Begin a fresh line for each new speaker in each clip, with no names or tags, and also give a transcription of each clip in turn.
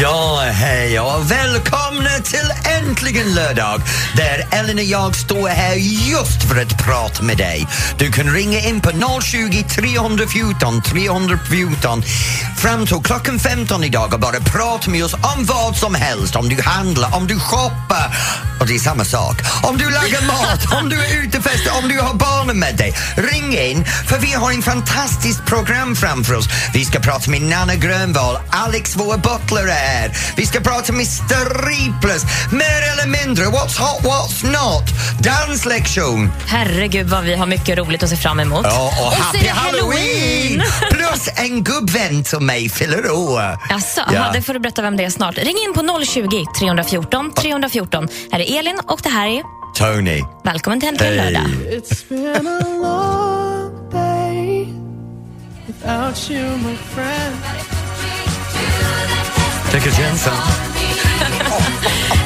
Ja, hej och välkomna till Äntligen lördag där Ellen och jag står här just för att prata med dig. Du kan ringa in på 020 314 314 fram till klockan 15 idag och bara prata med oss om vad som helst. Om du handlar, om du shoppar, och det är samma sak. Om du lagar mat, om du är ute och festar, om du har barnen med dig. Ring in, för vi har en fantastiskt program framför oss. Vi ska prata med Nanna Grönvall, Alex, vår butler är här. Vi ska prata med Striplers, mer eller mindre, what's hot, what's not, danslektion.
Herregud vad vi har mycket roligt att se fram emot.
Ja, och,
så är
happy
det
halloween! Plus en gubbvän till mig fyller år.
Jaså,
Ja.
aha, det får du berätta vem det är snart. Ring in på 020 314 314. Här är Elin och det här är
Tony.
Välkommen till Äntligen lördag.
It's been a long day without you, my friend.
Tycker Jensen.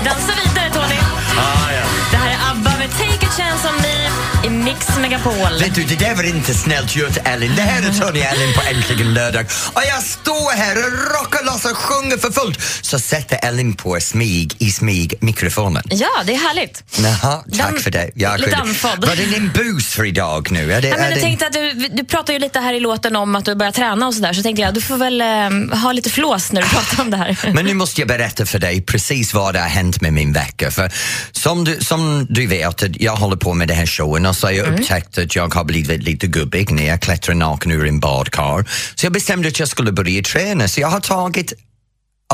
Dansa vidare Tony.
Ah, ja.
Det här är ABBA med Take a chance on me i Mix Megapol.
Vet du, det där var inte snällt gjort, Ellen. Det här är Tony Ellen på Äntligen lördag. Och jag står här och rockar loss och sjunger för fullt. Så sätter Ellen på smyg, i smyg, mikrofonen.
Ja, det är härligt.
Jaha, tack
Dam-
för det. Jag
lite
kunde-
andfådd.
Var det din bus för idag nu? Är det,
Ja, men
är
jag
det...
tänkte att du, du pratar ju lite här i låten om att du börjar träna och sådär, så tänkte jag du får väl eh, ha lite flås när du pratar om det här.
Men nu måste jag berätta för dig precis vad det har hänt med min vecka. För som du, som du vet, att jag håller på med den här showen och så har jag upptäckt att jag har blivit lite gubbig när jag klättrar naken ur en badkar. Så jag bestämde att jag skulle börja träna, så jag har tagit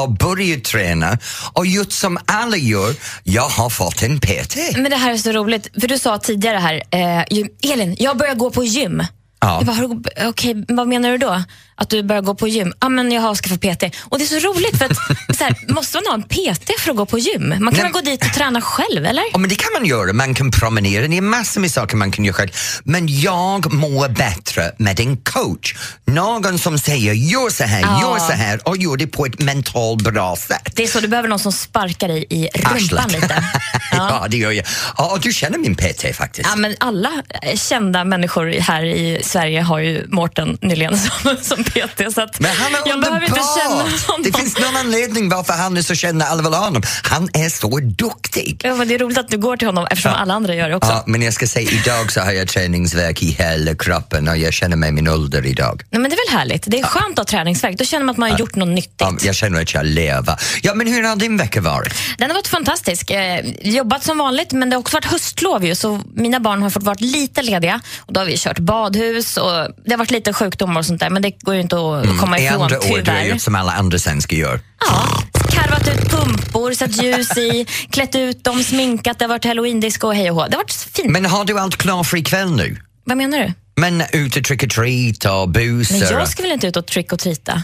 och börjat träna och gjort som alla gör, jag har fått en PT.
Men det här är så roligt, för du sa tidigare här, eh, ju- Elin, jag börjar gå på gym.
Ja.
Jag bara, har du- okej, vad menar du då? Att du börjar gå på gym? Ja, men jag har skaffat PT. Och det är så roligt, för att, så här, måste man ha en PT för att gå på gym? Man kan
Nej.
väl gå dit och träna själv, eller?
Ja, men det kan man göra. Man kan promenera. Det är massor med saker man kan göra själv. Men jag mår bättre med en coach. Någon som säger gör så här,
Ja.
gör så här och gör det på ett mentalt bra sätt.
Det är så, du behöver någon som sparkar dig i rumpan
Arslet.
lite.
Ja. det gör jag. Ja, och du känner min PT faktiskt.
Ja, men alla eh, kända människor i- här i Sverige har ju Mårten Nylén som, som PT. Så att
Men han är
jag behöver inte känna
underbar!
honom.
Det finns någon anledning varför han är så känd när alla vill ha honom. Han är så duktig!
Ja, men det är roligt att du går till honom eftersom alla andra gör det också.
Ja, men jag ska säga, idag så har jag träningsvärk i hela kroppen och jag känner mig min ålder idag.
Nej, men det är väl härligt? Det är skönt att ha träningsvärk. Då känner man att man har gjort något nyttigt.
Ja, jag känner att jag lever. Ja, men hur har din vecka varit?
Den har varit fantastisk. Eh, jobbat som vanligt, men det har också varit höstlov ju, så mina barn har fått vara lite lediga. Och då har vi kört badhus och det har varit lite sjukdomar och sånt där, men det går ju inte att komma
I
ifrån
andra ord, du har
tyvärr.
gjort som alla andra svenskar gör.
Ja, karvat ut pumpor, satt ljus i, klätt ut dem, sminkat, det har varit halloween-disco och hej och hå. Det har varit fint.
Men har du allt klart för ikväll nu?
Vad menar du?
Men ut och trick or treat och
Men
busar
jag
och-
ska väl inte ut och trick och trita?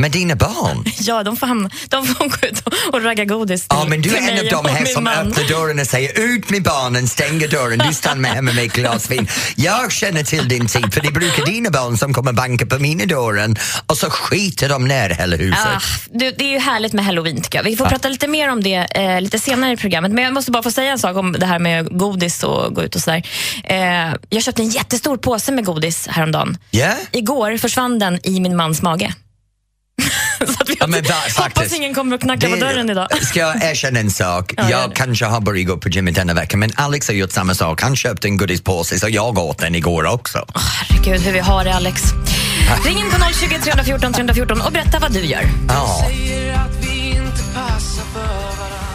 med dina barn?
Ja, de får, hamna, de får gå ut och- och ragga godis till,
Ja, men du
till
är en
mig
av de
och
här
min
som
man.
öppnar dörren och säger ut med barnen, stänger dörren, du stannar med hemma med ett glas vin. Jag känner till din tid, för det brukar dina barn som kommer banka på mina dörren och så skiter de ner hela huset.
Ah, du, det är ju härligt med halloween tycker jag. Vi får
Ah.
prata lite mer om det eh, lite senare i programmet. Men jag måste bara få säga en sak om det här med godis och gå ut och sådär. Eh, jag köpte en jättestor påse med godis häromdagen.
Ja?
Igår försvann den i min mans mage. Så att vi
Ja, men va-
hoppas
faktiskt.
ingen kommer och knackar på
Det-
dörren idag.
Ska jag erkänna en sak?
Ja, gör
jag
det.
kanske har börjat gå på gymmet denna vecka men Alex har gjort samma sak. Han köpte en godispåse så jag åt den igår också.
Herregud hur vi har det Alex. Ring in på 020 314 314 och berätta vad du gör.
Ja.
Säger att vi inte passar för varandra.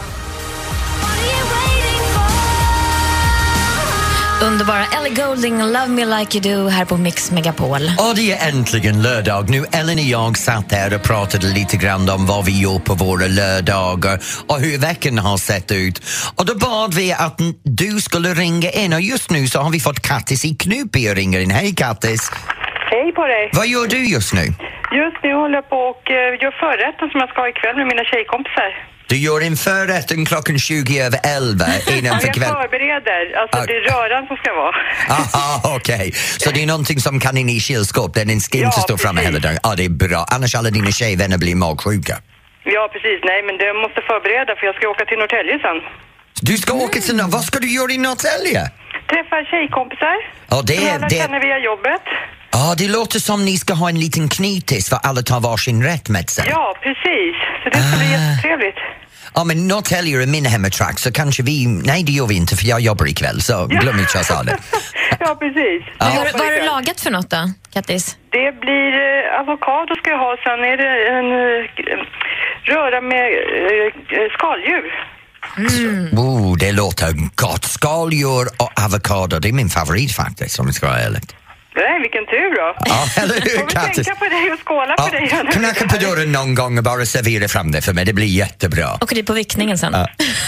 Underbara Ellie Golding, Love Me Like You Do här på Mix Megapol.
Och det är äntligen lördag. Nu Ellen och jag satt här och pratade lite grann om vad vi gör på våra lördagar och hur veckan har sett ut. Och då bad vi att n- du skulle ringa in och just nu så har vi fått Kattis i Knutby att ringa in. Hej Kattis!
Hej på dig!
Vad gör du just nu?
Just nu håller jag på och eh, gör förrätten som jag ska ha ikväll med mina tjejkompisar.
Du gör en förrätten klockan 20 över 11
Ja,
innanför
jag
kväll.
förbereder, alltså
Ah.
det är röran som ska vara.
Aha, okej. Så det är någonting som kan in i kylskåp, den ska inte
Ja,
stå framme
precis.
hela dagen. Ja, det är bra. Annars alla dina tjejvänner blir magsjuka.
Ja precis, nej men det jag måste förbereda för jag ska åka till Norrtälje sen.
Du ska åka till... Vad ska du göra i Norrtälje?
Träffa tjejkompisar.
Ja, det
som
är-
jag lärt
det-
känna via jobbet.
Ja, det låter som ni ska ha en liten knitis för alla tar varsin rätt med sig.
Ja, precis. Så det ska bli
Ah.
jättetrevligt.
Ja, men Norrtälje är min hemmatrack så kanske vi... Nej, det gör vi inte för jag jobbar ikväll så glöm inte jag sa det.
Ja, precis.
Vad
Jag
har,
hoppar
vad har du
ikväll.
lagat för något då, Kattis?
Det blir eh, avokado ska jag ha, sen är det en eh, röra med eh, eh, skaldjur. Mm.
Oh, det låter gott. Skaldjur och avokado, det är min favorit faktiskt om jag ska vara ärlig.
Nej, vilken tur då.
Ja, eller hur
Får vi
Kattis?
tänka på dig och skåla
Ja,
för dig.
knacka på dörren någon gång och bara servera fram det för mig, det blir jättebra.
Åker dit på vickningen sen.
Men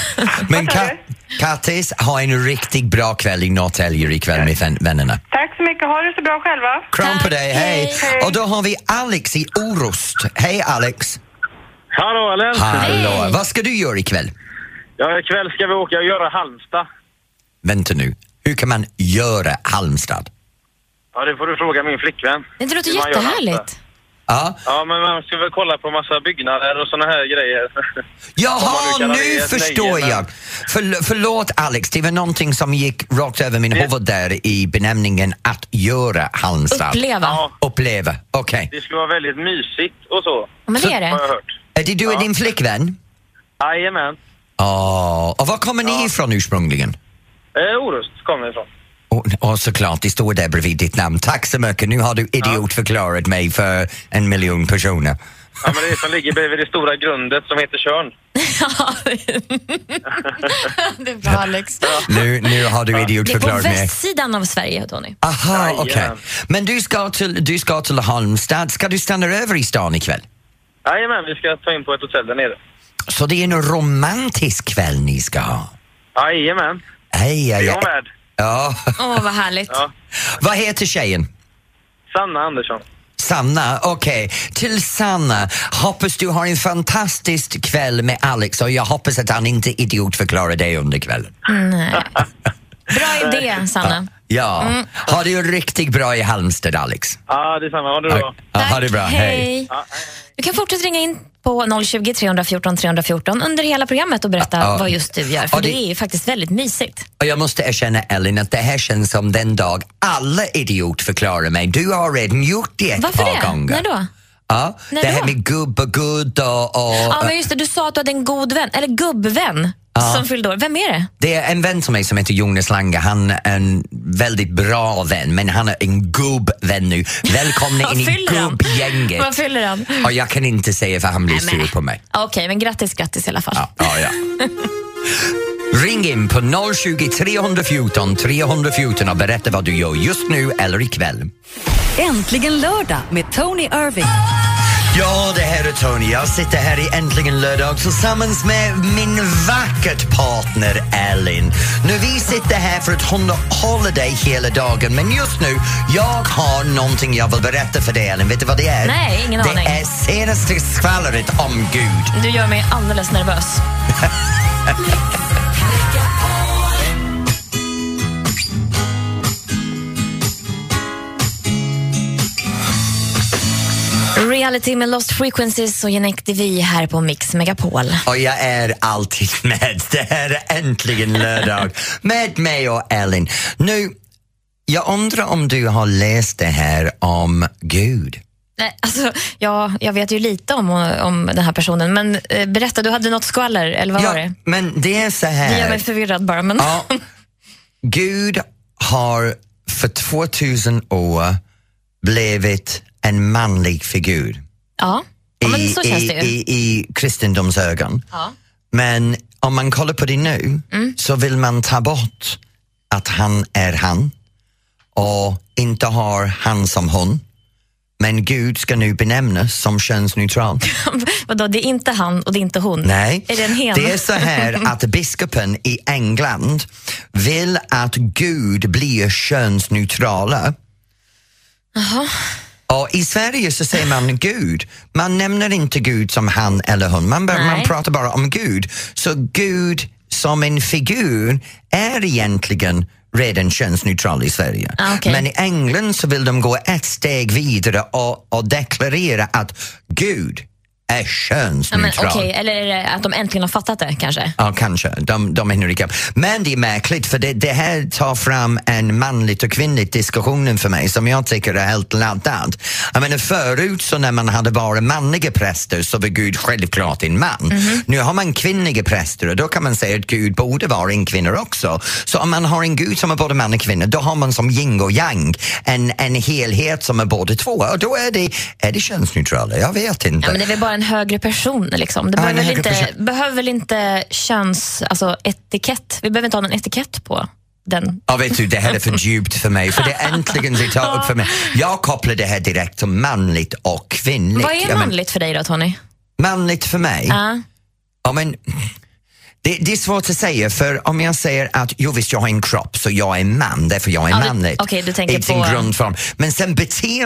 Vad sa
Ka- Kattis, ha en riktigt bra kväll i Norrtälje ikväll med vän- vännerna.
Tack så mycket. Ha det så bra själva.
Kram på
Tack,
dig, hej!
hej.
Hej.
Och då har vi Alex i Orust. Hej Alex!
Hallå Ellen!
Hallå!
Hej.
Vad ska du göra ikväll?
Ja, ikväll ska vi åka och göra Halmstad.
Vänta nu, hur kan man göra Halmstad?
Ja, det får du fråga min flickvän.
Det låter
Hur man gör
jättehärligt.
Halmstad.
Ja.
Ja, men man ska väl kolla på massa byggnader och såna här grejer. Om man nu
Jaha,
kallar
nu
det ett
förstår
nöje,
jag! Förl- förlåt Alex, det var någonting som gick rakt över min huvud där i benämningen att göra Halmstad.
Uppleva.
Ja.
Uppleva, okej.
Det skulle vara väldigt mysigt och så,
Ja, men det är
har jag
det.
hört.
Är det du och din flickvän?
Jajamän.
Ja, och var kommer ni ifrån ursprungligen?
Eh, Orust kommer vi ifrån.
Och, och såklart, det står där bredvid ditt namn. Tack så mycket, nu har du idiotförklarat mig för en miljon personer.
Ja, men det är som ligger bredvid det stora grundet som heter Tjörn.
det är bra Alex.
Nu, nu har du
Det är på
idiotförklarat mig.
västsidan av Sverige, Tony.
Aha, okej.
Jajamän.
Men du ska, till, du ska till Halmstad. Ska du stanna över i stan ikväll?
Jajamän, vi ska ta in på ett hotell där nere.
Så det är en romantisk kväll ni ska ha?
Jajamän.
Hej,
Är
hej,
hon
hej.
med?
Ja.
Åh, vad härligt.
Ja.
Vad heter tjejen?
Sanna Andersson.
Sanna, okej. Till Sanna, hoppas du har en fantastisk kväll med Alex och jag hoppas att han inte idiotförklarar dig under kvällen.
Bra idé, Sanna.
Ja,
Mm.
ha det ju riktigt bra i Halmstad, Alex.
Ja, detsamma. Ha det bra.
Ja, ha det bra, hej.
Du kan fortsätta ringa in på 020 314 314 under hela programmet och berätta
Ja.
vad just du gör. För
Ja, det-
det... är ju faktiskt väldigt mysigt.
Och jag måste erkänna, Ellen, att det här känns som den dag alla idiotförklarar mig. Du har redan gjort det ett
Varför
par
det?
gånger.
När då?
Ja,
När
det här
då?
med gubb och gudd och, och
Ja, men just det. Du sa att du hade en god vän, eller gubbvän, som fyllde år. Vem är det?
Det är en vän till mig som heter Jonas Lange. Han är en väldigt bra vän, men han är en gubbvän nu. Välkomna in
Vad
i
fyller han?
gubbgänget.
Vad fyller han?
Och jag kan inte säga för han blir
Nej, men-
sur på mig.
Ja, Okej, men grattis, grattis i alla fall.
Ja, ja, ja. Ring in på 020 314 314 och berätta vad du gör just nu eller ikväll.
Äntligen lördag med Tony Irving.
Ja, det här är Tony. Jag sitter här i Äntligen lördag tillsammans med min vackert partner Elin. Nu, vi sitter här för att hålla dig hela dagen, men just nu, jag har någonting jag vill berätta för dig, Elin. Vet du vad det är?
Nej, ingen
det
aning.
Det är senaste skvallret om Gud.
Du gör mig alldeles nervös. Reality med Lost Frequencies och Yannick DeVie här på Mix Megapol.
Och jag är alltid med. Det här är Äntligen lördag med mig och Elin. Nu, jag undrar om du har läst det här om Gud?
Nej, alltså, ja, jag vet ju lite om, om den här personen, men eh, berätta, du hade något skvaller, eller vad var det?
men det är så här.
Det gör mig förvirrad bara. Men...
Ja. Gud har för 2000 år blivit en manlig figur
Ja. ja, men
i,
så känns
i,
det ju.
i, i kristendomsögon.
Ja. Mm.
Men om man kollar på det nu så vill man ta bort att han är han och inte har han som hon. Men Gud ska nu benämnas som könsneutral.
Vadå, det är inte han och det är inte hon?
Nej,
Är det en hen?
är så här att biskopen i England vill att Gud blir könsneutrala. Och I Sverige så säger man Gud. Man nämner inte Gud som han eller hon. Man, bara, man
Nej.
pratar bara om Gud. Så Gud som en figur är egentligen redan könsneutral i Sverige.
Ah, okej.
Men i England så vill de gå ett steg vidare och, och deklarera att Gud är
Ja, men
könsneutral.
Okej, eller är det att de äntligen har fattat det kanske?
Ja, kanske. De, de hinner ikapp. Men det är märkligt, för det, det här tar fram en manligt och kvinnligt diskussionen för mig som jag tycker är helt laddad. Jag menar, förut så när man hade bara manliga präster så var Gud självklart en man.
Mhm.
Nu har man kvinnliga präster och då kan man säga att Gud borde vara en kvinna också. Så om man har en Gud som är både man och kvinna, då har man som yin och yang en, en helhet som är både två. Och då är det, är det könsneutrala? Jag vet inte.
Ja, men det är väl bara en högre person. Liksom. Det
Ja,
behöver,
en
väl
högre
inte,
person.
behöver väl inte köns, alltså, etikett. Vi behöver inte ha någon etikett på den.
Ja, vet du, det här är för djupt för mig, för det är äntligen det tar upp för mig. Jag kopplar det här direkt till manligt och kvinnligt.
Vad
Jag
är
men-
manligt för dig då Tony?
manligt för mig?
Ja.
Ja, men, det, det är svårt att säga, för om jag säger att jo visst, jag har en kropp så jag är man, därför jag är
Ja, du-
manligt.
okej, du tänker
I sin
på-
grundform. Men sen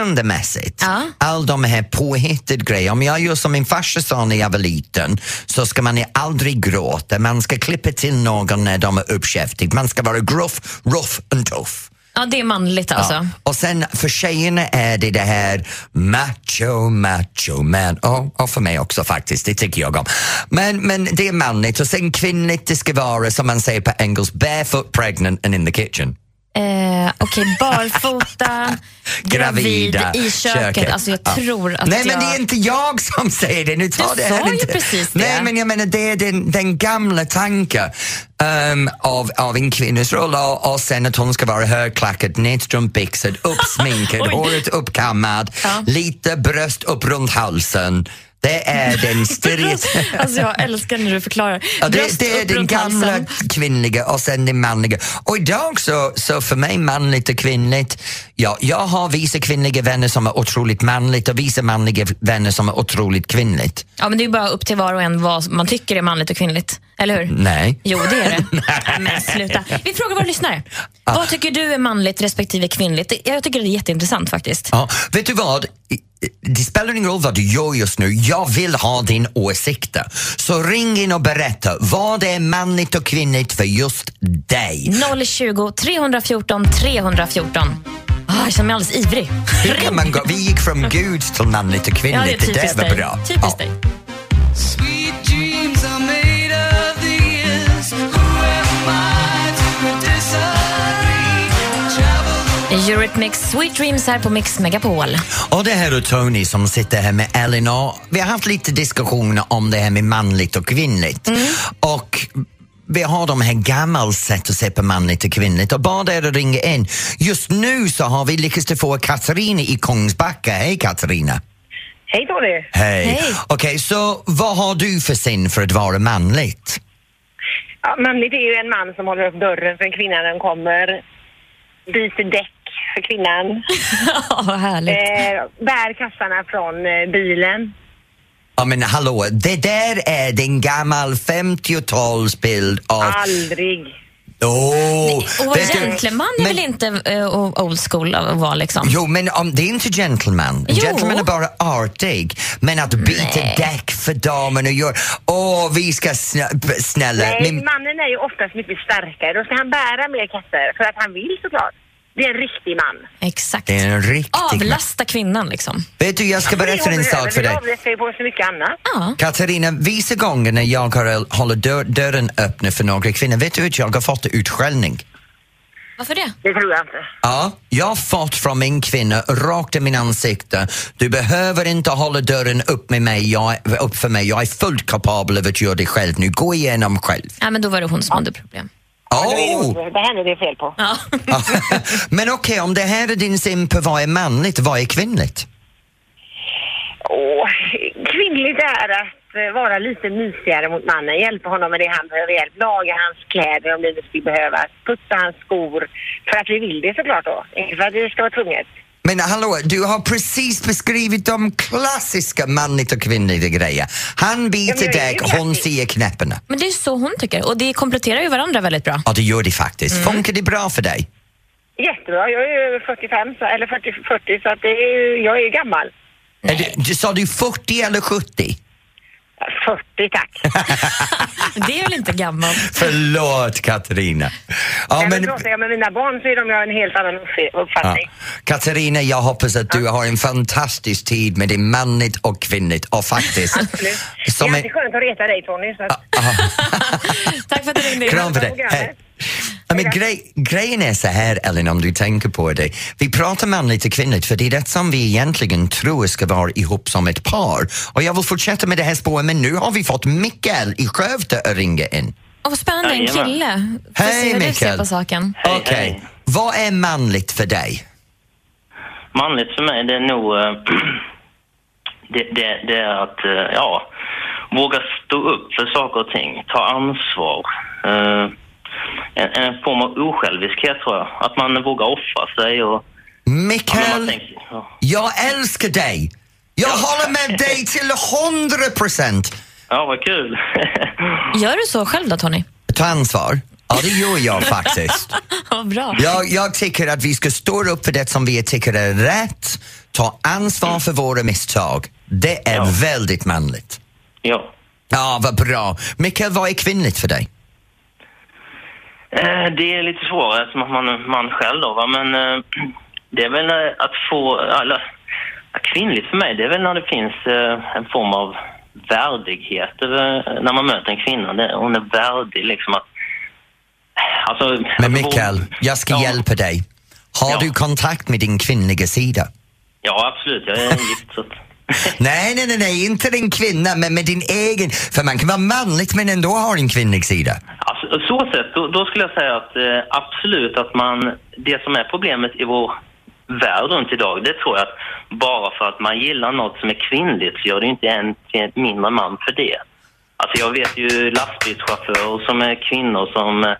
beteendemässigt,
Ja.
all de här påhittade grejerna. Om jag gör som min farsa sa när jag var liten så ska man aldrig gråta, man ska klippa till någon när de är uppkäftiga. Man ska vara gruff, ruff och tuff.
ja, det är manligt alltså.
Ja. Och sen för tjejerna är det det här macho, macho man. Och, och för mig också faktiskt, det tycker jag om. Men, men det är manligt och sen kvinnligt det ska vara som man säger på engelska, barefoot, pregnant and in the kitchen.
Eh, Okej, barfota, gravid
Gravida,
i köket. Alltså jag
Ja.
tror att
Nej
jag...
men det är inte jag som säger det. Nu tar
Du
det här
sa ju
inte.
precis det.
Nej men jag menar det är den, den gamla tanken ehm, av, av en kvinnas roll och, och sen att hon ska vara högklackad, nedstrumpbyxad, uppsminkad,
Oj.
håret uppkammad,
Ja.
lite bröst upp runt halsen. Det är den stereotypen.
Alltså jag älskar när du förklarar.
Ja, det,
Bröst
det är
upp
den
runt
gamla
halsen.
kvinnliga och sen den manliga. Och idag så, så för mig manligt och kvinnligt, ja, jag har vissa kvinnliga vänner som är otroligt manligt och vissa manliga vänner som är otroligt kvinnligt.
Ja, men det är ju bara upp till var och en vad man tycker är manligt och kvinnligt. Eller hur?
Nej.
Jo, det är det. Nej, men sluta. Vi frågar våra lyssnare.
Ah.
Vad tycker du är manligt respektive kvinnligt? Det- Jag tycker det är jätteintressant faktiskt.
Ja, vet du vad? Det spelar ingen roll vad du gör just nu, jag vill ha din åsikter. Så ring in och berätta, vad är manligt och kvinnligt för just dig?
020 314 314. Ah, jag känner mig alldeles ivrig.
Hur kan man gå? Vi gick från Gud till manligt och
Ja, det är
kvinnligt, det,
typiskt
där var
dig.
bra.
Typiskt
Ja.
dig.
Sweet dreams are made of these. Who am I to disagree? Travel
Eurythmics Sweet Dreams här på Mix Megapol.
Och det här är Tony som sitter här med Elinor. Vi har haft lite diskussioner om det här med manligt och kvinnligt.
Mm.
Och vi har de här gamla sätt att se på manligt och kvinnligt och bad er att ringa in. Just nu så har vi lyckats att få Katarina i Kungsbacka. Hej Katarina!
Hej Tony!
Hej!
Hej.
Okej, så vad har du för syn för att vara manligt?
Ja, manligt är ju en man som håller upp dörren för en kvinna när den kommer, byter däck för kvinnan,
Ja, vad härligt.
eh, bär kassarna från eh, bilen.
Ja men hallå, det där är den gammal 50-talsbild av...
Aldrig!
Åh!
Och vara
Eh, vet du-
gentleman är
Men-
väl inte eh, old school att vara liksom?
Jo, men om, det är inte gentleman.
Jo.
Gentleman är bara artig. Men att byta däck för damen och göra... Åh, vi ska snä- p- snälla...
Nej,
min-
mannen är ju oftast mycket starkare. Då ska han bära mer kassar för att han vill såklart. Det är en riktig man.
Exakt.
det är en riktig...
Avlasta kvinnan liksom.
Vet du, jag ska berätta en sak för dig.
Det sig på så mycket annat.
Ja.
Katarina, vissa gånger när jag har, håller dör, dörren öppen för några kvinnor, vet du att jag har fått utskällning?
Varför det?
Det tror jag inte.
Ja, jag har fått från min kvinna rakt i min ansikte. Du behöver inte hålla dörren upp, med mig, jag, upp för mig. Jag är fullt kapabel över att göra det själv nu. Gå igenom själv.
Ja, men då var det hon som hade problem.
Då är Det,
Åh!
det här är det fel på.
Ja.
Men okej, om det här är din syn på vad är manligt, vad är kvinnligt?
Åh, kvinnligt är att eh, vara lite mysigare mot mannen, hjälpa honom med det han behöver hjälp, laga hans kläder om det skulle behövas, putsa hans skor. För att vi vill det såklart då, inte för att det ska vara tvunget.
Men hallå, du har precis beskrivit de klassiska manligt och kvinnliga grejer. Han
Ja,
biter
men det är
däck,
ju
hon
klassiskt.
säger knäpparna.
Men det är så hon tycker och det kompletterar ju varandra väldigt bra.
Ja, det gör det faktiskt.
Mm.
Funkar det bra för dig?
Jättebra, jag är ju 45, så, eller 40, 40 så att det är, ju- jag är ju gammal.
Är du, du, sa du 40 eller 70?
40 tack.
Det är väl inte gammalt?
Förlåt Katarina. Ja,
Nej, men...
men,
pratar jag med mina barn så är de ju av en helt annan uppf-
ja.
uppfattning.
Katarina, jag hoppas att du har en fantastisk tid med din manligt och kvinnligt och faktiskt...
Absolut. det
som
är
en-
alltid skönt att reta dig Tony. Så att...
Tack för att du ringde.
Kram för dig.
programmet.
Hej. Ja, men grej, grejen är så här, Ellen, om du tänker på det. Vi pratar manligt och kvinnligt för det är det som vi egentligen tror ska vara ihop som ett par. Och jag vill fortsätta med det här spåret, men nu har vi fått Mikael i Skövde att ringa in.
Åh, vad spännande, en
Jajamän.
kille. Får
Hej,
se hur du ser
Mikael.
på saken.
Hej,
Okej,
hej.
vad är manligt för dig?
Manligt för mig, det är nog... eh, det, det, det är att, eh, ja, våga stå upp för saker och ting, ta ansvar. Eh, en, en form av osjälviskhet tror jag. Att man vågar offra sig och... ja, men man
Mikael,
tänker, ja.
jag älskar dig. Jag håller med dig till hundra procent.
ja, vad kul!
Gör du så själv då, Tony?
Ta ansvar. Ja, det gör jag faktiskt.
Ja, bra.
Jag, jag tycker att vi ska stå upp för det som vi tycker är rätt, ta ansvar för våra misstag. Det är
Ja.
väldigt manligt.
ja.
Ja, vad bra. Mikael, vad är kvinnligt för dig?
Eh, det är lite svårare eftersom att man är man själv då, va? men eh, det är väl eh, att få... Eller, kvinnligt för mig, det är väl när det finns eh, en form av värdighet över- när man möter en kvinna. Det, hon är värdig liksom att... Alltså, alltså,
Men Mikael,
hon-
jag ska
ja,
hjälpa dig. Har
Ja.
du kontakt med din kvinnliga sida?
Ja, absolut. Jag är gift så att...
Nej, nej, nej, nej, inte din kvinna, men med din egen. För man kan vara manligt men ändå ha en kvinnlig sida.
Alltså, på så sätt, då, då skulle jag säga att eh, absolut att man, det som är problemet i vår värld runt idag, det tror jag att bara för att man gillar något som är kvinnligt så gör det ju inte en till en mindre man för det. Alltså jag vet ju lastbilschaufförer som är kvinnor som eh,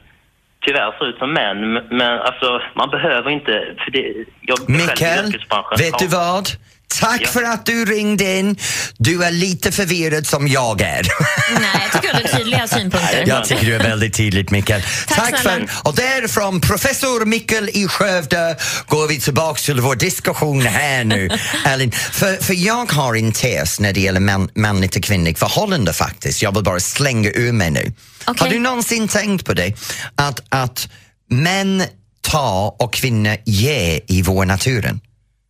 tyvärr ser ut som män, m- men alltså man behöver inte, för det, jag är själv i
Mikael,
yrkesbranschen.
vet
Ja.
du vad? Tack
Ja.
för att du ringde in. Du är lite förvirrad som jag är.
Nej, jag tycker du hade tydliga synpunkter.
Jag tycker du är väldigt tydligt, Mikael.
Tack
för,
snälla.
och därifrån professor Mikael i Skövde går vi tillbaks till vår diskussion här nu, Elin. För, för jag har en tes när det gäller man, manligt och kvinnligt förhållande faktiskt. Jag vill bara slänga ur mig nu.
Okej.
Har du någonsin tänkt på det? Att, att män tar och kvinnor ger i vår naturen?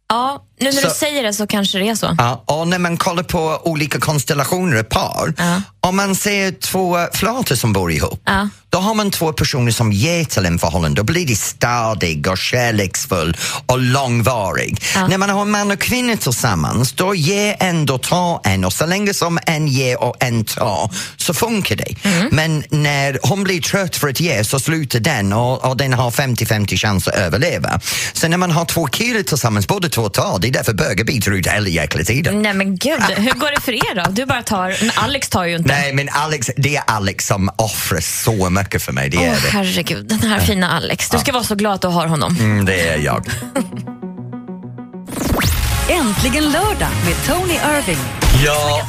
Ja, nu när
Så-
du säger det så kanske det är så.
Ja, och när man kollar på olika konstellationer i par,
Ja.
om man ser två flator som bor ihop,
Ja.
då har man två personer som ger till en förhållande. Då blir det stadig och kärleksfull och långvarig. När man har man och kvinna tillsammans, då ger en, då tar en och så länge som en ger och en tar så funkar det. Men när hon blir trött för att ge så slutar den och, och den har 50-50 chans att överleva. Så när man har två killar tillsammans, båda två tar, det är därför bögar biter ut hela jäkla tiden.
Nej men gud, hur går det för er då? Du bara tar, men Alex tar ju inte.
Nej, men Alex, det är Alex som offrar så mycket för mig. Det
Åh
är det.
herregud, den här fina Alex. Du ska vara så glad att du har honom.
Mm, det är jag.
Äntligen lördag med Tony Irving.
Ja,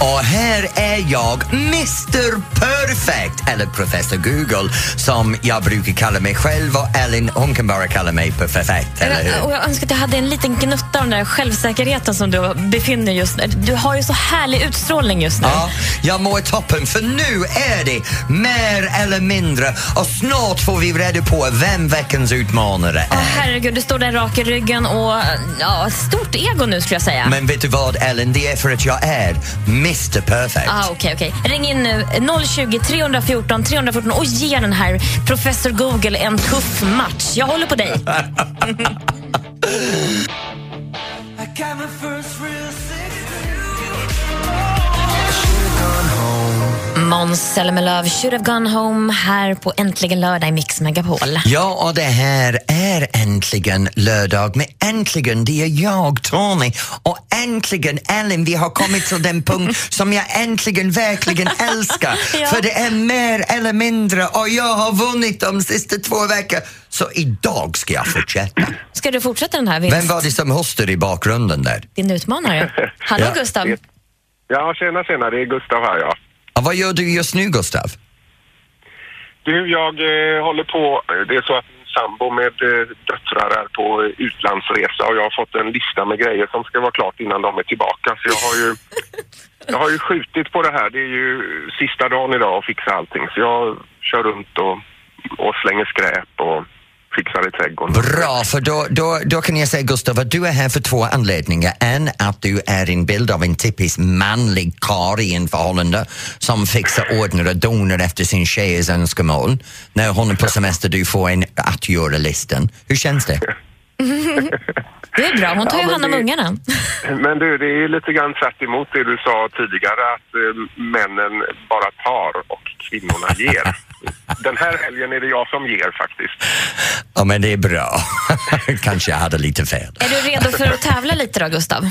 och här är jag, Mr Perfect, eller Professor Google som jag brukar kalla mig själv och Ellen, hon kan bara kalla mig för perfekt, eller
Och
hur?
jag önskar att jag hade en liten gnutta av den där självsäkerheten som du befinner just nu. Du har ju så härlig utstrålning just nu.
Ja, jag mår toppen för nu är det mer eller mindre och snart får vi reda på vem veckans utmanare
Åh,
är.
herregud, du står där rak i ryggen och ja, stort ego nu skulle jag säga.
Men vet du vad Ellen, det är för att jag är Mr Perfect.
Ah, okej, okej. Ring in nu, 020 314 314 och ge den här professor Google en tuff match. Jag håller på dig.
I got my first real
Måns Zelmerlöw, Should have gone home här på Äntligen lördag i Mix Megapol.
Ja, och det här är äntligen lördag. Men äntligen, det är jag, Tony. Och äntligen, Ellen, vi har kommit till den punkt som jag äntligen verkligen älskar.
Ja.
För det är mer eller mindre och jag har vunnit de sista två veckorna. Så idag ska jag fortsätta.
Ska du fortsätta den här vinst?
Vem var det som hostade i bakgrunden där?
Din utmanare. Hallå
Ja.
Gustav.
Ja, tjena, tjena. Det är Gustav här, ja.
Och vad gör du just nu, Gustav?
Du, jag eh, håller på... Det är så att min sambo med eh, döttrar är på eh, utlandsresa och jag har fått en lista med grejer som ska vara klart innan de är tillbaka. Så jag har ju Jag har ju skjutit på det här. Det är ju sista dagen idag att fixa allting. Så jag kör runt och, och slänger skräp och fixar i trädgården.
Bra, för då, då, då kan jag säga Gustav att du är här för två anledningar. En, att du är en bild av en typisk manlig karl i en förhållande som fixar, ordnar och donar efter sin tjejs önskemål. När hon är på semester du får en att göra-listan. Hur känns det?
Det är bra, hon tar
Ja,
ju
men
hand om
det-
ungarna.
Men du, det är ju lite grann tvärt emot det du sa tidigare att eh, männen bara tar och kvinnorna ger. Den här helgen är det jag som ger faktiskt.
Ja, men det är bra. Kanske jag hade lite fel.
Är du redo för att tävla lite då, Gustav?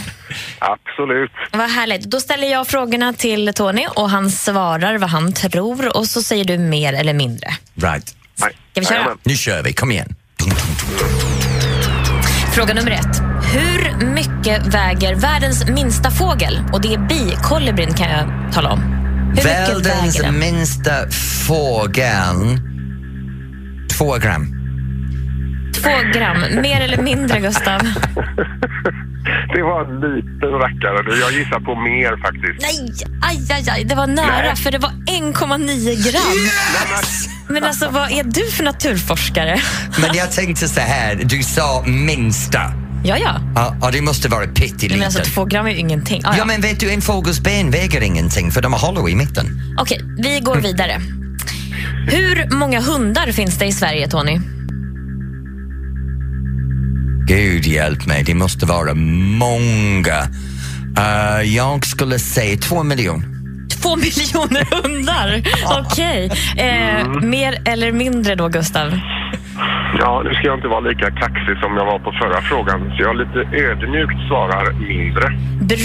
Absolut.
Vad härligt. Då ställer jag frågorna till Tony och han svarar vad han tror och så säger du mer eller mindre.
Right.
Ska vi köra? Jajamän.
Nu kör vi, kom igen.
Fråga nummer ett. Hur mycket väger världens minsta fågel? Och det är bi, kolibrin kan jag tala om. Hur mycket
Världens
väger den?
minsta fågel. Två gram.
Två gram. Mer eller mindre, Gustav?
Det var en liten rackare du. Jag gissar på mer faktiskt.
Nej, aj, aj, aj. Det var nära,
Nej.
för det var 1,9 gram. Men alltså, vad är du för naturforskare?
Men jag tänkte så här, du sa minsta.
Ja, ja.
Ja, ja, det måste vara
Men
pytteliten.
alltså, två gram är ju ingenting. Ah,
Ja, men vet du, en fågels ben väger ingenting för de har hålor i mitten.
Okej, vi går vidare. Hur många hundar finns det i Sverige, Tony?
Gud hjälp mig, det måste vara många. Eh, jag skulle säga två miljoner.
Två miljoner hundar! Okej. Eh,
Mm.
mer eller mindre då, Gustav?
Ja, nu ska jag inte vara lika kaxig som jag var på förra frågan. Så jag lite ödmjukt svarar mindre.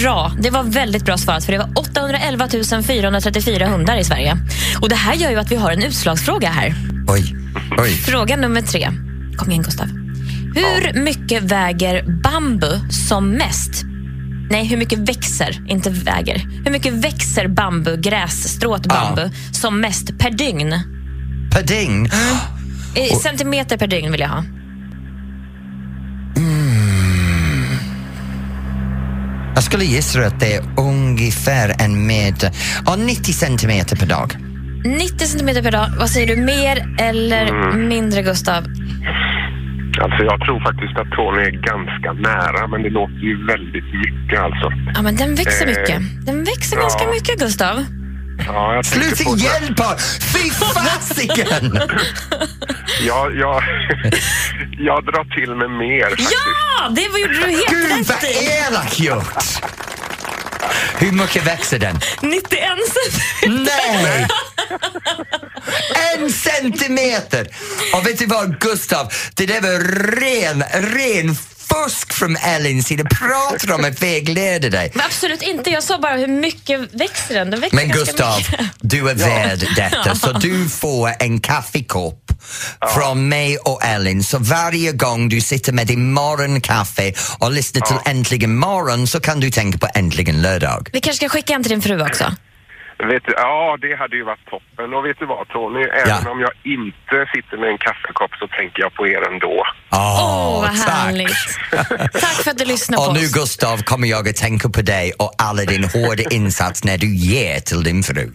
Bra. Det var väldigt bra svarat, för det var 811 434 hundar i Sverige. Och Det här gör ju att vi har en utslagsfråga här.
Oj, oj.
Fråga nummer tre. Kom igen, Gustav. Hur mycket väger bambu som mest? Nej, hur mycket växer, inte väger. Hur mycket växer bambu, grässtrået bambu, som mest per dygn?
Per dygn?
I centimeter per dygn vill jag ha.
Jag skulle gissa att det är ungefär en meter, ja, 90 centimeter per dag.
90 centimeter per dag. Vad säger du, mer eller
Mm.
mindre, Gustav?
Alltså jag tror faktiskt att Tony är ganska nära men det låter ju väldigt mycket alltså.
Ja, men den växer
Eh,
mycket. Den växer
ja.
ganska mycket, Gustav.
Ja, jag tänker
Sluta
på-
hjälpa! Fy fasiken!
Jag, jag, jag drar till med mer faktiskt.
Ja, det var- gjorde du
Gud
helt
vad
rätt i.
elakt gjort! Hur mycket växer den?
91 centimeter.
Nej! En centimeter! Och vet du vad Gustav, det där var ren, ren fusk från Ellins sida. Pratar om att vägleda dig.
Men Absolut inte. Jag sa bara hur mycket växer den. Den växer
Men
ganska
Gustav,
mycket.
du är värd detta så du får en kaffekopp från mig och Ellen. Så varje gång du sitter med din morgonkaffe och lyssnar till Äntligen morgon så kan du tänka på Äntligen lördag.
Vi kanske ska skicka en till din fru också.
Vet du, ja, det hade ju varit toppen. Och vet du vad Tony, även om jag inte sitter med en kaffekopp så tänker jag på er ändå.
Åh,
Åh, vad
tack.
härligt. Tack för att du lyssnar på
Och nu
oss.
Gustav kommer jag att tänka på dig och alla din hårda insats när du ger till din fru.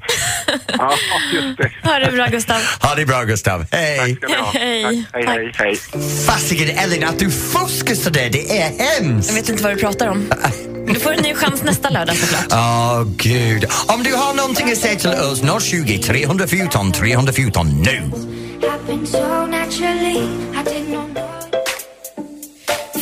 Ja, just det.
Ha det bra, Gustav.
Ha det bra Gustav, hej!
Ska ni ha.
Hej.
Tack. Hej, hej, hej.
Fasiken Ellen att du fuskar sådär, det är hemskt!
Jag vet inte vad du pratar om. Du får en ny chans nästa lördag såklart.
Åh gud. Om du har någonting att säga till oss, 020 314 314 nu!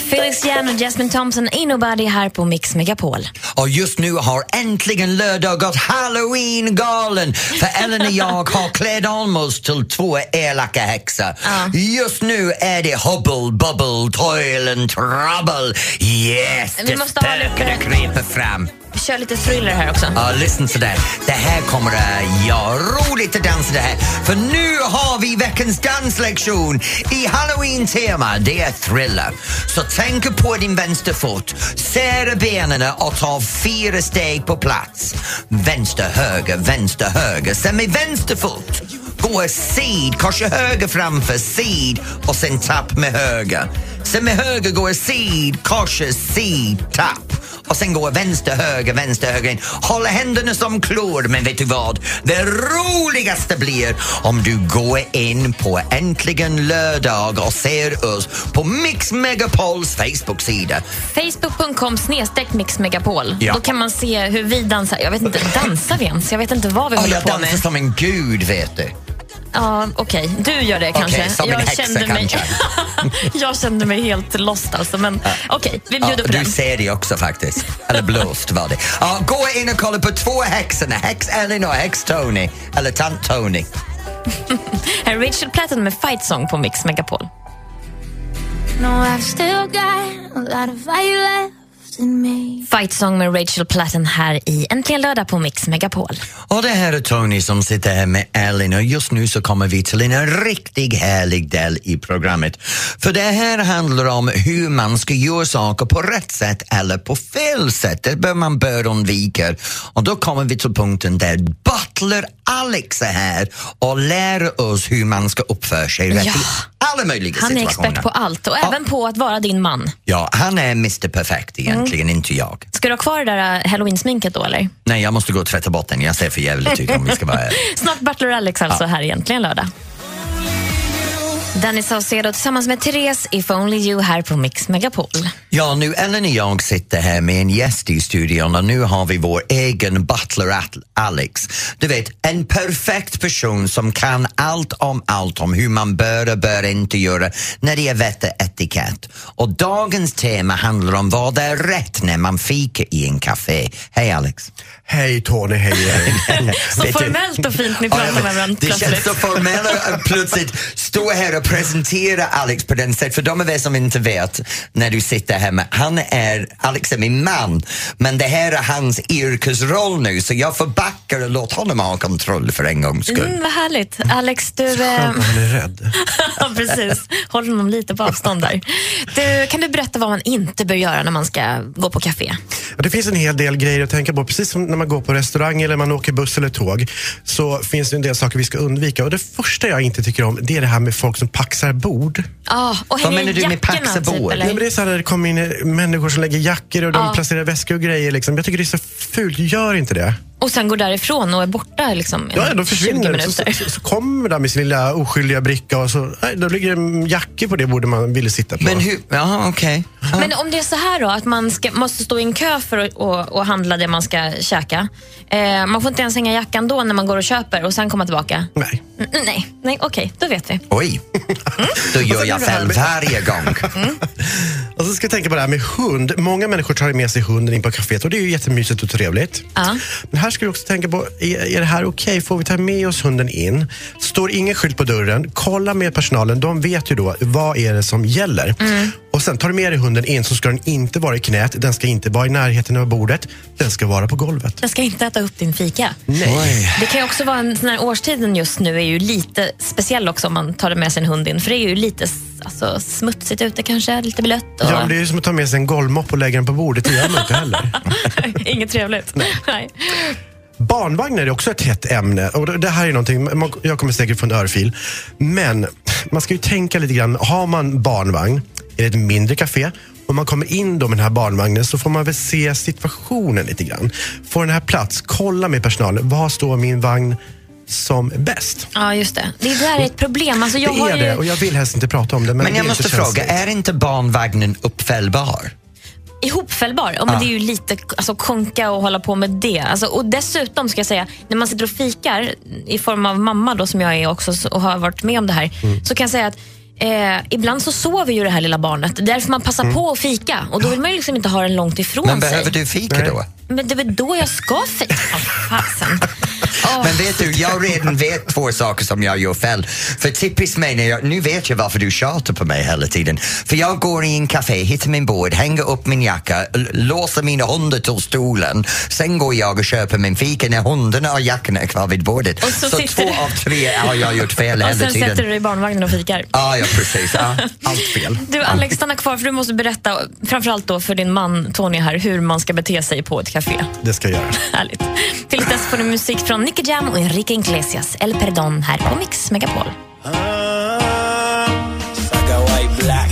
Felix Jan och Jasmine Thompson, Ain't Nobody här på Mix Megapol.
Och just nu har äntligen lördag gått halloween-galen för Ellen och jag har klädd om oss till två elaka häxor. Just nu är det hubble, bubble, toil and trouble. Yes,
Vi
det
måste ha lite-
spökade kryper fram.
Vi kör lite thriller här också.
Ja, lyssna till det. Det här kommer att ja, roligt att dansa det här. För nu har vi veckans danslektion i halloween-tema. Det är thriller. Så tänk på din vänsterfot, sära benen och ta fyra steg på plats. Vänster, höger, vänster, höger. Sen med vänster fot går sid, korsa höger framför, sid och sen tapp med höger. Sen med höger går jag sid, korset, sid, tapp. Och sen går jag vänster, höger, vänster, höger in. Håll händerna som klor, men vet du vad? Det roligaste blir om du går in på Äntligen lördag och ser oss på Mix Megapols Facebook-sida.
Facebook.com snedstreck mixmegapol.
Ja.
Då kan man se hur vi dansar. Jag vet inte, dansar vi ens? Jag vet inte vad vi
Och
håller
jag
på
dansar
med.
som en gud, vet du.
Ja, okej. Du gör det
Okej,
kanske.
som en
jag,
häxa
kände mig...
kanske.
jag kände mig helt lost alltså. Men okej, vi bjuder
Ja,
på den.
Du ser det också faktiskt. Eller blåst var det. Ja, gå in och kolla på två häxorna, häx-Elin och häx-Tony. Eller tant-Tony.
Här är Rachel Platten med Fight Song på Mix Megapol.
No, I've still got a lot of fight left in me.
Fight Song med Rachel Platten här i Äntligen lördag på Mix Megapol.
Och det här är Tony som sitter här med Elin och just nu så kommer vi till en riktigt härlig del i programmet. För det här handlar om hur man ska göra saker på rätt sätt eller på fel sätt. Det bör man bör undvika. Och då kommer vi till punkten där Butler Alex är här och lär oss hur man ska uppföra sig rätt
Ja.
i alla möjliga
Han är
situationer.
expert på allt och även på att vara din man.
Ja, han är Mr Perfect egentligen, inte jag.
Ska du ha kvar det där äh, halloween-sminket då eller?
Nej, jag måste gå och tvätta bort den. Jag ser för jävligt ut om vi ska vara ärliga.
Snart Butler Alex alltså här egentligen lördag. Danny Saucedo tillsammans med Therese, If Only You här på Mix Megapol.
Ja, nu Ellen och jag sitter här med en gäst i studion och nu har vi vår egen butler At- Alex. Du vet, en perfekt person som kan allt om allt om hur man bör och bör inte göra när det är vett och etikett. Och dagens tema handlar om vad är rätt när man fikar i en café. Hej Alex!
Hej Tony, hej hej.
Så formellt och fint ni
Ja,
pratar
men
med varandra
Det känns
plötsligt.
så formellt att plötsligt stå här och presentera Alex på den sätt. För de av er som inte vet, när du sitter här med, han är, Alex är min man, men det här är hans yrkesroll nu så jag får backa och låt honom ha kontroll för en gångs skull.
Mm, vad härligt. Alex, du... eh,
Han är rädd.
Ja, precis. Håll honom lite på avstånd där. Du, kan du berätta vad man inte bör göra när man ska gå på café?
Ja, Det finns en hel del grejer att tänka på. Precis som när man går på restaurang eller man åker buss eller tåg så finns det en del saker vi ska undvika. Och Det första jag inte tycker om det är det här med folk som paxar bord.
Ah, och hänger i jackorna, Typ, eller?
Nej, men det är så här när det kommer in eh, människor som lägger jackor och de
Ja.
placerar väskor och grejer. Liksom. Jag tycker det är så fult. Gör inte det.
Och sen går därifrån och är borta liksom, i
Ja, ja,
20
då försvinner det.
minuter.
Så, så, så kommer de med sin lilla oskyldiga bricka och så nej, då ligger en jacka på det bordet man ville sitta på.
Men hur, jaha okej.
Men om det är så här då, att man ska, måste stå i en kö för att och, och handla det man ska käka. Eh, man får inte ens hänga jackan då när man går och köper och sen komma tillbaka?
Nej.
Mm, nej, nej okej, då vet vi.
Oj, då gör jag
det här
fel
med-
varje gång.
Och så Alltså, ska jag tänka på det här med hund. Många människor tar ju med sig hunden in på kaféet och det är ju jättemysigt och trevligt.
Ja.
Men här ska vi också tänka på, är, är det här okej? Får vi ta med oss hunden in? Står ingen skylt på dörren, kolla med personalen. De vet ju då vad är det som gäller. Och sen tar du med dig hunden in så ska den inte vara i knät, den ska inte vara i närheten av bordet, den ska vara på golvet.
Jag ska inte äta upp din fika.
Oj.
Det kan ju också vara en sån här årstiden just nu är ju lite speciell också om man tar med sin hund in. För det är ju lite s- alltså, smutsigt ute kanske, lite blött. Och...
Ja, men det är ju som att ta med sig en golvmopp och lägga den på bordet. Det gör man inte heller.
Inget trevligt. Nej.
Barnvagnar är också ett hett ämne. Och det- det här är någonting, man- jag kommer säkert få en örfil. Men man ska ju tänka lite grann. Har man barnvagn, är det ett mindre café om man kommer in då med den här barnvagnen så får man väl se situationen lite grann. Får den här plats, kolla med personalen. Var står min vagn som bäst?
Ja, just det. Det där är ett problem. Alltså, jag
det
har
är
ju...
det och jag vill helst inte prata om det. Men,
Men
det
jag
är
måste
inte
fråga,
känsligt.
är inte barnvagnen uppfällbar?
ihopfällbar. Ja, men
Ah.
Det är ju lite alltså, konka och hålla på med det. Alltså, och Dessutom ska jag säga, när man sitter och fikar i form av mamma då, som jag är också s- och har varit med om det här,
Mm.
så kan jag säga att Eh, ibland så sover ju det här lilla barnet. Det är därför man passar på att fika. Och Då vill man ju liksom inte ha den långt ifrån
Mm. Men
sig.
behöver du fika då?
Men det är väl då jag ska fika? Oh, fasen. Åh.
Men vet du, jag redan vet två saker som jag gör fel. För typiskt mig, när jag, nu vet jag varför du tjatar på mig hela tiden. För jag går i en café, hittar min bord, hänger upp min jacka, l- låser mina hundar till stolen. Sen går jag och köper min fika när hundarna och jackan är kvar vid bordet.
Och så
så
sitter
två
du-
av tre har jag gjort fel
och
hela
sen
tiden.
sätter du dig i barnvagnen och fikar.
Ja, ja, precis. Ja, allt fel.
Du Alex, stanna kvar för du måste berätta, framförallt då för din man Tony här, hur man ska bete sig på ett café.
Det ska jag göra.
Härligt. Till dess får du musik från Nicky Jam och Enrique Iglesias, El Perdón, här på Mix Megapol.
Black.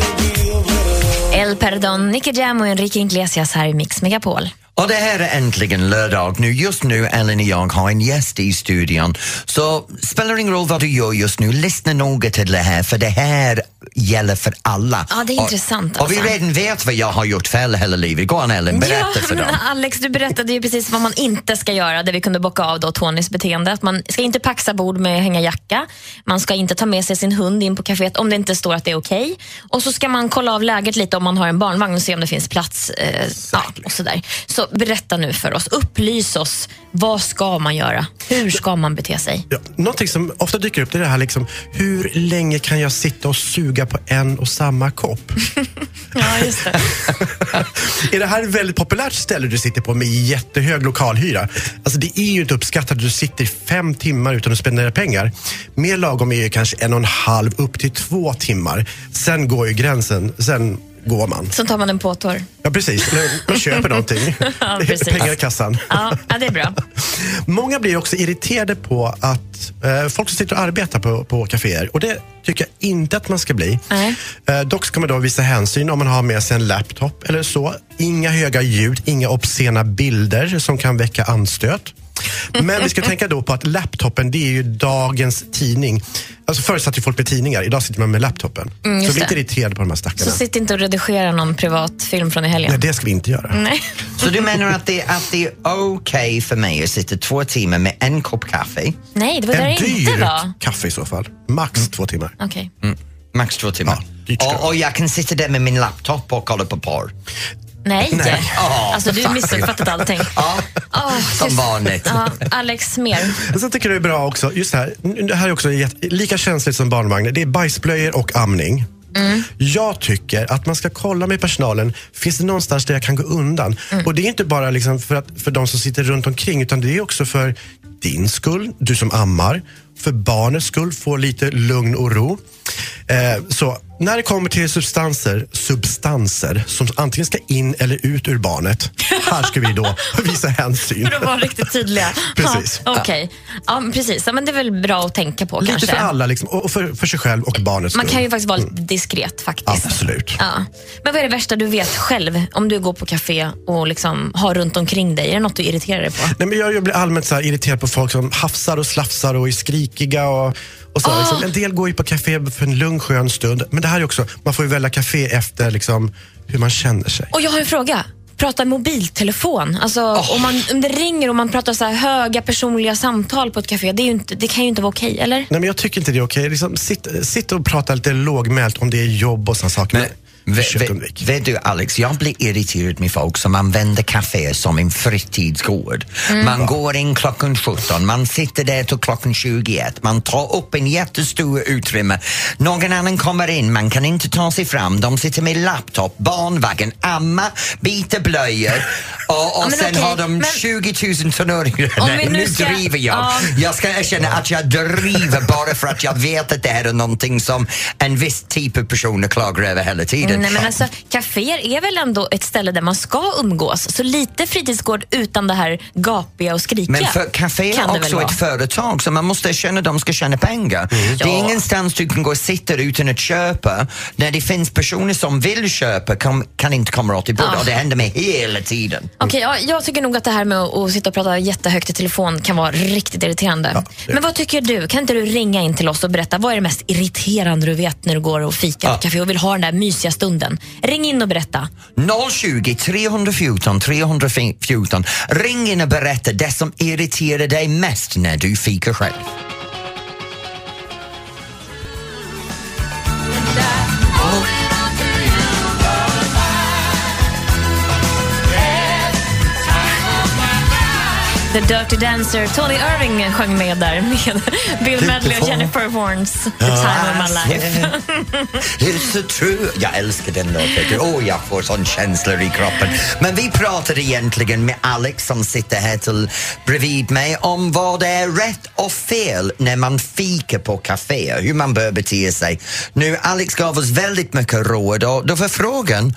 Perdon, Nicky Jam och Enrique Iglesias här i Mix Megapol.
Och det här är äntligen lördag nu. Just nu, Ellen och jag har en gäst i studion. Så spelar ingen roll vad du gör just nu, lyssna noga till det här för det här gäller för alla.
Ja, det är intressant
Och, och vi
alltså.
redan vet vad jag har gjort fel hela livet. Gå an Ellen, berätta
ja,
för
men
dem.
Alex, du berättade ju precis vad man inte ska göra, där vi kunde bocka av då Tonys beteende. Att man ska inte paxa bord med hänga jacka. Man ska inte ta med sig sin hund in på kaféet om det inte står att det är okej. Och så ska man kolla av läget lite om man har en barnvagn och se om det finns plats. Eh, ja, och sådär. Så berätta nu för oss, upplys oss. Vad ska man göra? Hur ska man bete sig?
Ja, någonting som ofta dyker upp det är det här liksom, hur länge kan jag sitta och suga på en och samma kopp?
ja, just det.
är det här ett väldigt populärt ställe du sitter på med jättehög lokalhyra? Alltså, det är ju inte uppskattat att du sitter i fem timmar utan att spendera pengar. Mer lagom är ju kanske en och en halv upp till två timmar. Sen går ju gränsen. Sen går man.
Sen tar man en påtår.
Ja, precis. Eller Man köper någonting.
Ja, precis.
Pengar i kassan.
Ja, ja, det är bra.
Många blir också irriterade på att eh, folk som sitter och arbetar på, på kaféer och det tycker jag inte att man ska bli. Eh, dock ska man då visa hänsyn om man har med sig en laptop eller så. Inga höga ljud, inga obscena bilder som kan väcka anstöt. Men vi ska tänka då på att laptopen, det är ju dagens tidning. Alltså förut satt ju folk med tidningar, idag sitter man med laptopen.
Mm, just
så bli inte
det.
irriterad på de här stackarna.
Så sitt inte och redigera någon privat film från i helgen.
Nej, det ska vi inte göra.
Nej.
Så du menar att det, att det är okej för mig att sitta två timmar med en kopp kaffe?
Nej, det var där det inte var.
kaffe i så fall. Max två timmar.
Okej.
Mm. Max två timmar. och, och jag kan sitta där med min laptop och kolla på porr.
Nej.
Nej. Ja,
alltså du har missuppfattat allting.
Ja. Som vanligt.
Ja, Alex, mer.
Sen tycker jag det är bra också, just det här, det här är också jätte- lika känsligt som barnvagnar. Det är bajsblöjor och amning. Jag tycker att man ska kolla med personalen, finns det någonstans där jag kan gå undan? Och det är inte bara liksom för, att, för de som sitter runt omkring, utan det är också för din skull, du som ammar, för barnets skull, få lite lugn och ro. Eh, så när det kommer till substanser, substanser som antingen ska in eller ut ur barnet, här ska vi då visa hänsyn.
För att vara riktigt tydliga.
Precis.
Ja, Okej. Ja, men precis. Ja, men det är väl bra att tänka på
Lite
kanske.
för alla liksom, och och för, för sig själv och barnets
Man
skull.
kan ju faktiskt vara lite diskret faktiskt.
Mm. Absolut.
Ja. Men vad är det värsta du vet själv om du går på café och liksom har runt omkring dig? Är det något du irriterar dig på?
Nej, men jag, jag blir allmänt så här irriterad på folk som hafsar och slafsar och är skrikiga. Och, och så
Ah.
här, liksom. En del går ju på café för en lugn skön stund. Men det här är också, man får ju välja café efter liksom, hur man känner sig.
Och jag har en fråga. Prata mobiltelefon. Alltså, om, man, om det ringer och man pratar så här höga personliga samtal på ett café, det, är ju inte, det kan ju inte vara okej, eller?
Nej, men jag tycker inte det är okej. Liksom, sitt, sitt och prata lite lågmält om det är jobb och såna saker. Men,
Vet, vet, vet du Alex, jag blir irriterad med folk som använder kaféer som en fritidsgård.
Mm.
Man
Ja.
går in klockan 17, man sitter där till klockan 21, man tar upp en jättestor utrymme. Någon annan kommer in, man kan inte ta sig fram, de sitter med laptop, barnvagn, amma, byter blöjor och, och
Ja, men
sen
okej,
har de
men-
20 000 tonåringar.
Om
Nej,
vi nu
nu
ska-
driver jag.
Ja.
Jag ska erkänna att jag driver bara för att jag vet att det här är någonting som en viss typ av personer klagar över hela tiden.
Nej, men alltså, kaféer är väl ändå ett ställe där man ska umgås? Så lite fritidsgård utan det här gapiga och skrikiga.
Men för kafé
kan det
är
väl
också
vara?
ett företag så man måste känna att de ska tjäna pengar. Det är
Ja.
ingenstans du kan gå och sitta utan att köpa. När det finns personer som vill köpa kan, kan inte komma åt i bordet
Ah.
och det händer mig hela tiden.
Okej, ja, jag tycker nog att det här med att att sitta och prata jättehögt i telefon kan vara riktigt irriterande. Men vad tycker du? Kan inte du ringa in till oss och berätta vad är det mest irriterande du vet när du går och fikar på café och vill ha den där mysiga stunden? Ring in och berätta.
020 314 314. Ring in och berätta det som irriterar dig mest när du fikar själv.
The Dirty Dancer, Tony Irving sjöng med där med Bill Medley och Jennifer Warnes. The time of my life.
Ah, It's a true. Jag älskar den låten. Åh, jag får sån känslor i kroppen. Men vi pratar egentligen med Alex som sitter här till bredvid mig om vad det är rätt och fel när man fikar på kaféer, hur man bör bete sig. Nu, Alex gav oss väldigt mycket råd och då var frågan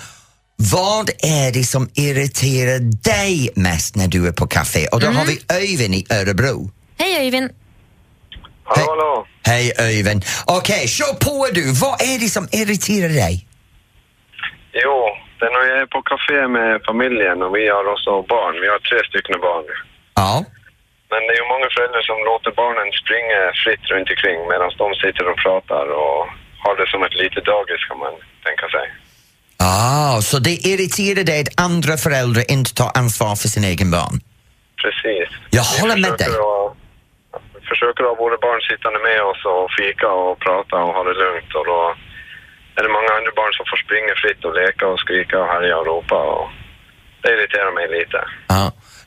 vad är det som irriterar dig mest när du är på kafé? Och då
Mm.
har vi Öyvind i Örebro.
Hej Öyvind.
Hallå, hallå. Hej Öyvind. Okej, kör på du. Vad är det som irriterar dig?
Jo,
egentligen. Och jag är på café med familjen och vi har också barn. Vi har tre stycken barn.
Ja.
Men det är ju många föräldrar som låter barnen springa fritt runt omkring medan de sitter och pratar och har det som ett litet dagis kan man tänka sig.
Ah, så det irriterar dig att andra föräldrar inte tar ansvar för sin egen barn?
Precis.
Jag håller med dig.
Och, försöker ha våra barn sittande med oss och fika och prata och ha det lugnt och då är det många andra barn som får springa fritt och leka och skrika och härja och ropa och det irriterar mig lite.
Ja.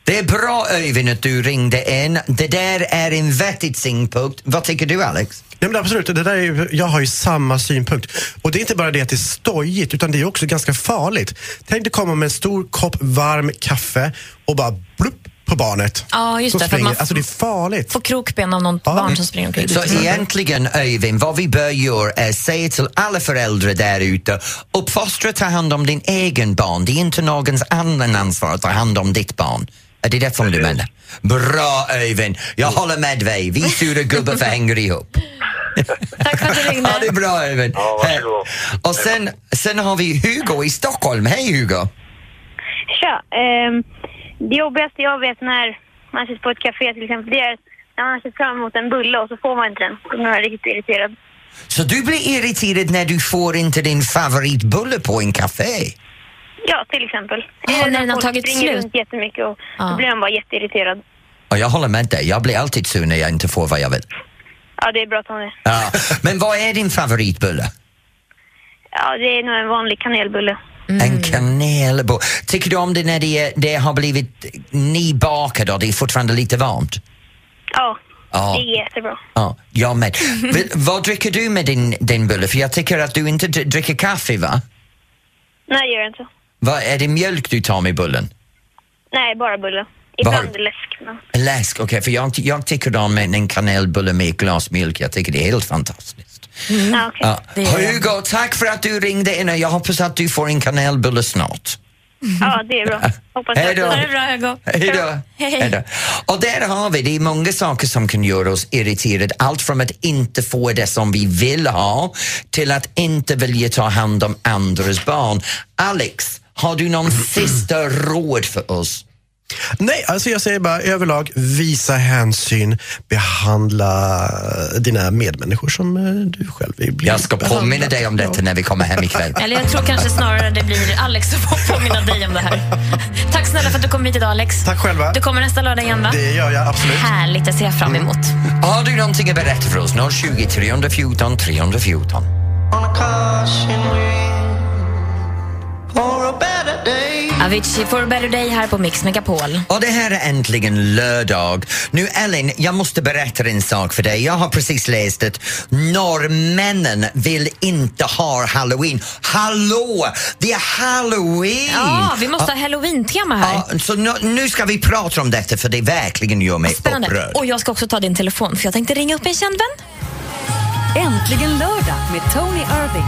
Det är bra Öyvind att du ringde in. Det där är en vettig synpunkt. Vad tycker du Alex?
Nej, men absolut, det där är ju, jag har ju samma synpunkt. Och det är inte bara det att det är stojigt, utan det är också ganska farligt. Tänk dig komma med en stor kopp varm kaffe och bara blupp på barnet.
Ja, just
som
det, för att
springer.
man f-
Alltså det är farligt.
Får krokben av något barn som springer omkring.
Så egentligen Öyvind, vad vi bör göra är säga till alla föräldrar där ute, uppfostra ta hand om din egen barn. Det är inte någons annan ansvar att ta hand om ditt barn. Är det det som du menar? Bra Öyvind, jag håller med dig. Vi sura gubbar förhänger ihop.
Tack för att du ringde.
Ja, det är bra Öyvind. Och sen, sen har vi Hugo i Stockholm. Hej Hugo!
Tja! ehm, det jobbigaste jag vet när man sitter på ett café till exempel, det är när man ser fram emot en bulle och så får man inte den. Då blir man riktigt irriterad.
Så du blir irriterad när du får inte din favoritbulle på en café?
Ja, till exempel.
Ja,
Eller
när den har
folk
tagit
springer
slut.
runt jättemycket och
Ja.
då blir man bara jätteirriterad.
Ja, jag håller med dig. Jag blir alltid sur när jag inte får vad jag vill.
Ja, det är bra Tony.
Ja. Men vad är din favoritbulle?
Ja, det är nog en vanlig kanelbulle.
En kanelbulle. Tycker du om det när det, är- det har blivit nybakad och det är fortfarande lite varmt?
Ja,
Ja.
det är jättebra.
Ja, jag med. Vill- vad dricker du med din, din bulle? För jag tycker att du inte dr- dricker kaffe, va?
Nej, det gör jag inte.
Vad Är det mjölk du tar med bullen?
Nej, bara bulle.
Vad har-
Ibland läsk. Men...
Läsk, okej, för jag, jag tycker om en, en kanelbulle med ett glas mjölk. Jag tycker det är helt fantastiskt.
Ja, okej.
Mm. Ja. Hugo, tack för att du ringde in och jag hoppas att du får en kanelbulle snart.
Ja, det är bra. Hoppas
Hej då.
jag-
Ha det bra,
Hugo.
Hej då. Hej då. Och där har vi, det är många saker som kan göra oss irriterade. Allt från att inte få det som vi vill ha till att inte vilja ta hand om andras barn. Alex, har du någon sista råd för oss?
Nej, alltså jag säger bara överlag, visa hänsyn, behandla eh, dina medmänniskor som eh, du själv vill bli
Jag ska påminna dig om detta när vi kommer hem ikväll.
Eller jag tror kanske snarare det blir Alex som får påminna dig om det här. Tack snälla för att du kom hit idag Alex. Tack
själva.
Du kommer nästa lördag igen va?
Det gör jag absolut.
Härligt, det ser jag fram emot.
Har du någonting att berätta för oss? 020 314 314.
Avicii for a better day här på Mix Megapol.
Och det här är äntligen lördag. Nu Ellen, jag måste berätta en sak för dig. Jag har precis läst att norrmännen vill inte ha halloween. Hallå! Det är halloween!
Ja, vi måste ha halloween-tema här.
Ja, Så nu, nu ska vi prata om detta för det verkligen gör mig
Spännande.
upprörd.
Och jag ska också ta din telefon för jag tänkte ringa upp en känd vän.
Äntligen lördag med Tony Irving.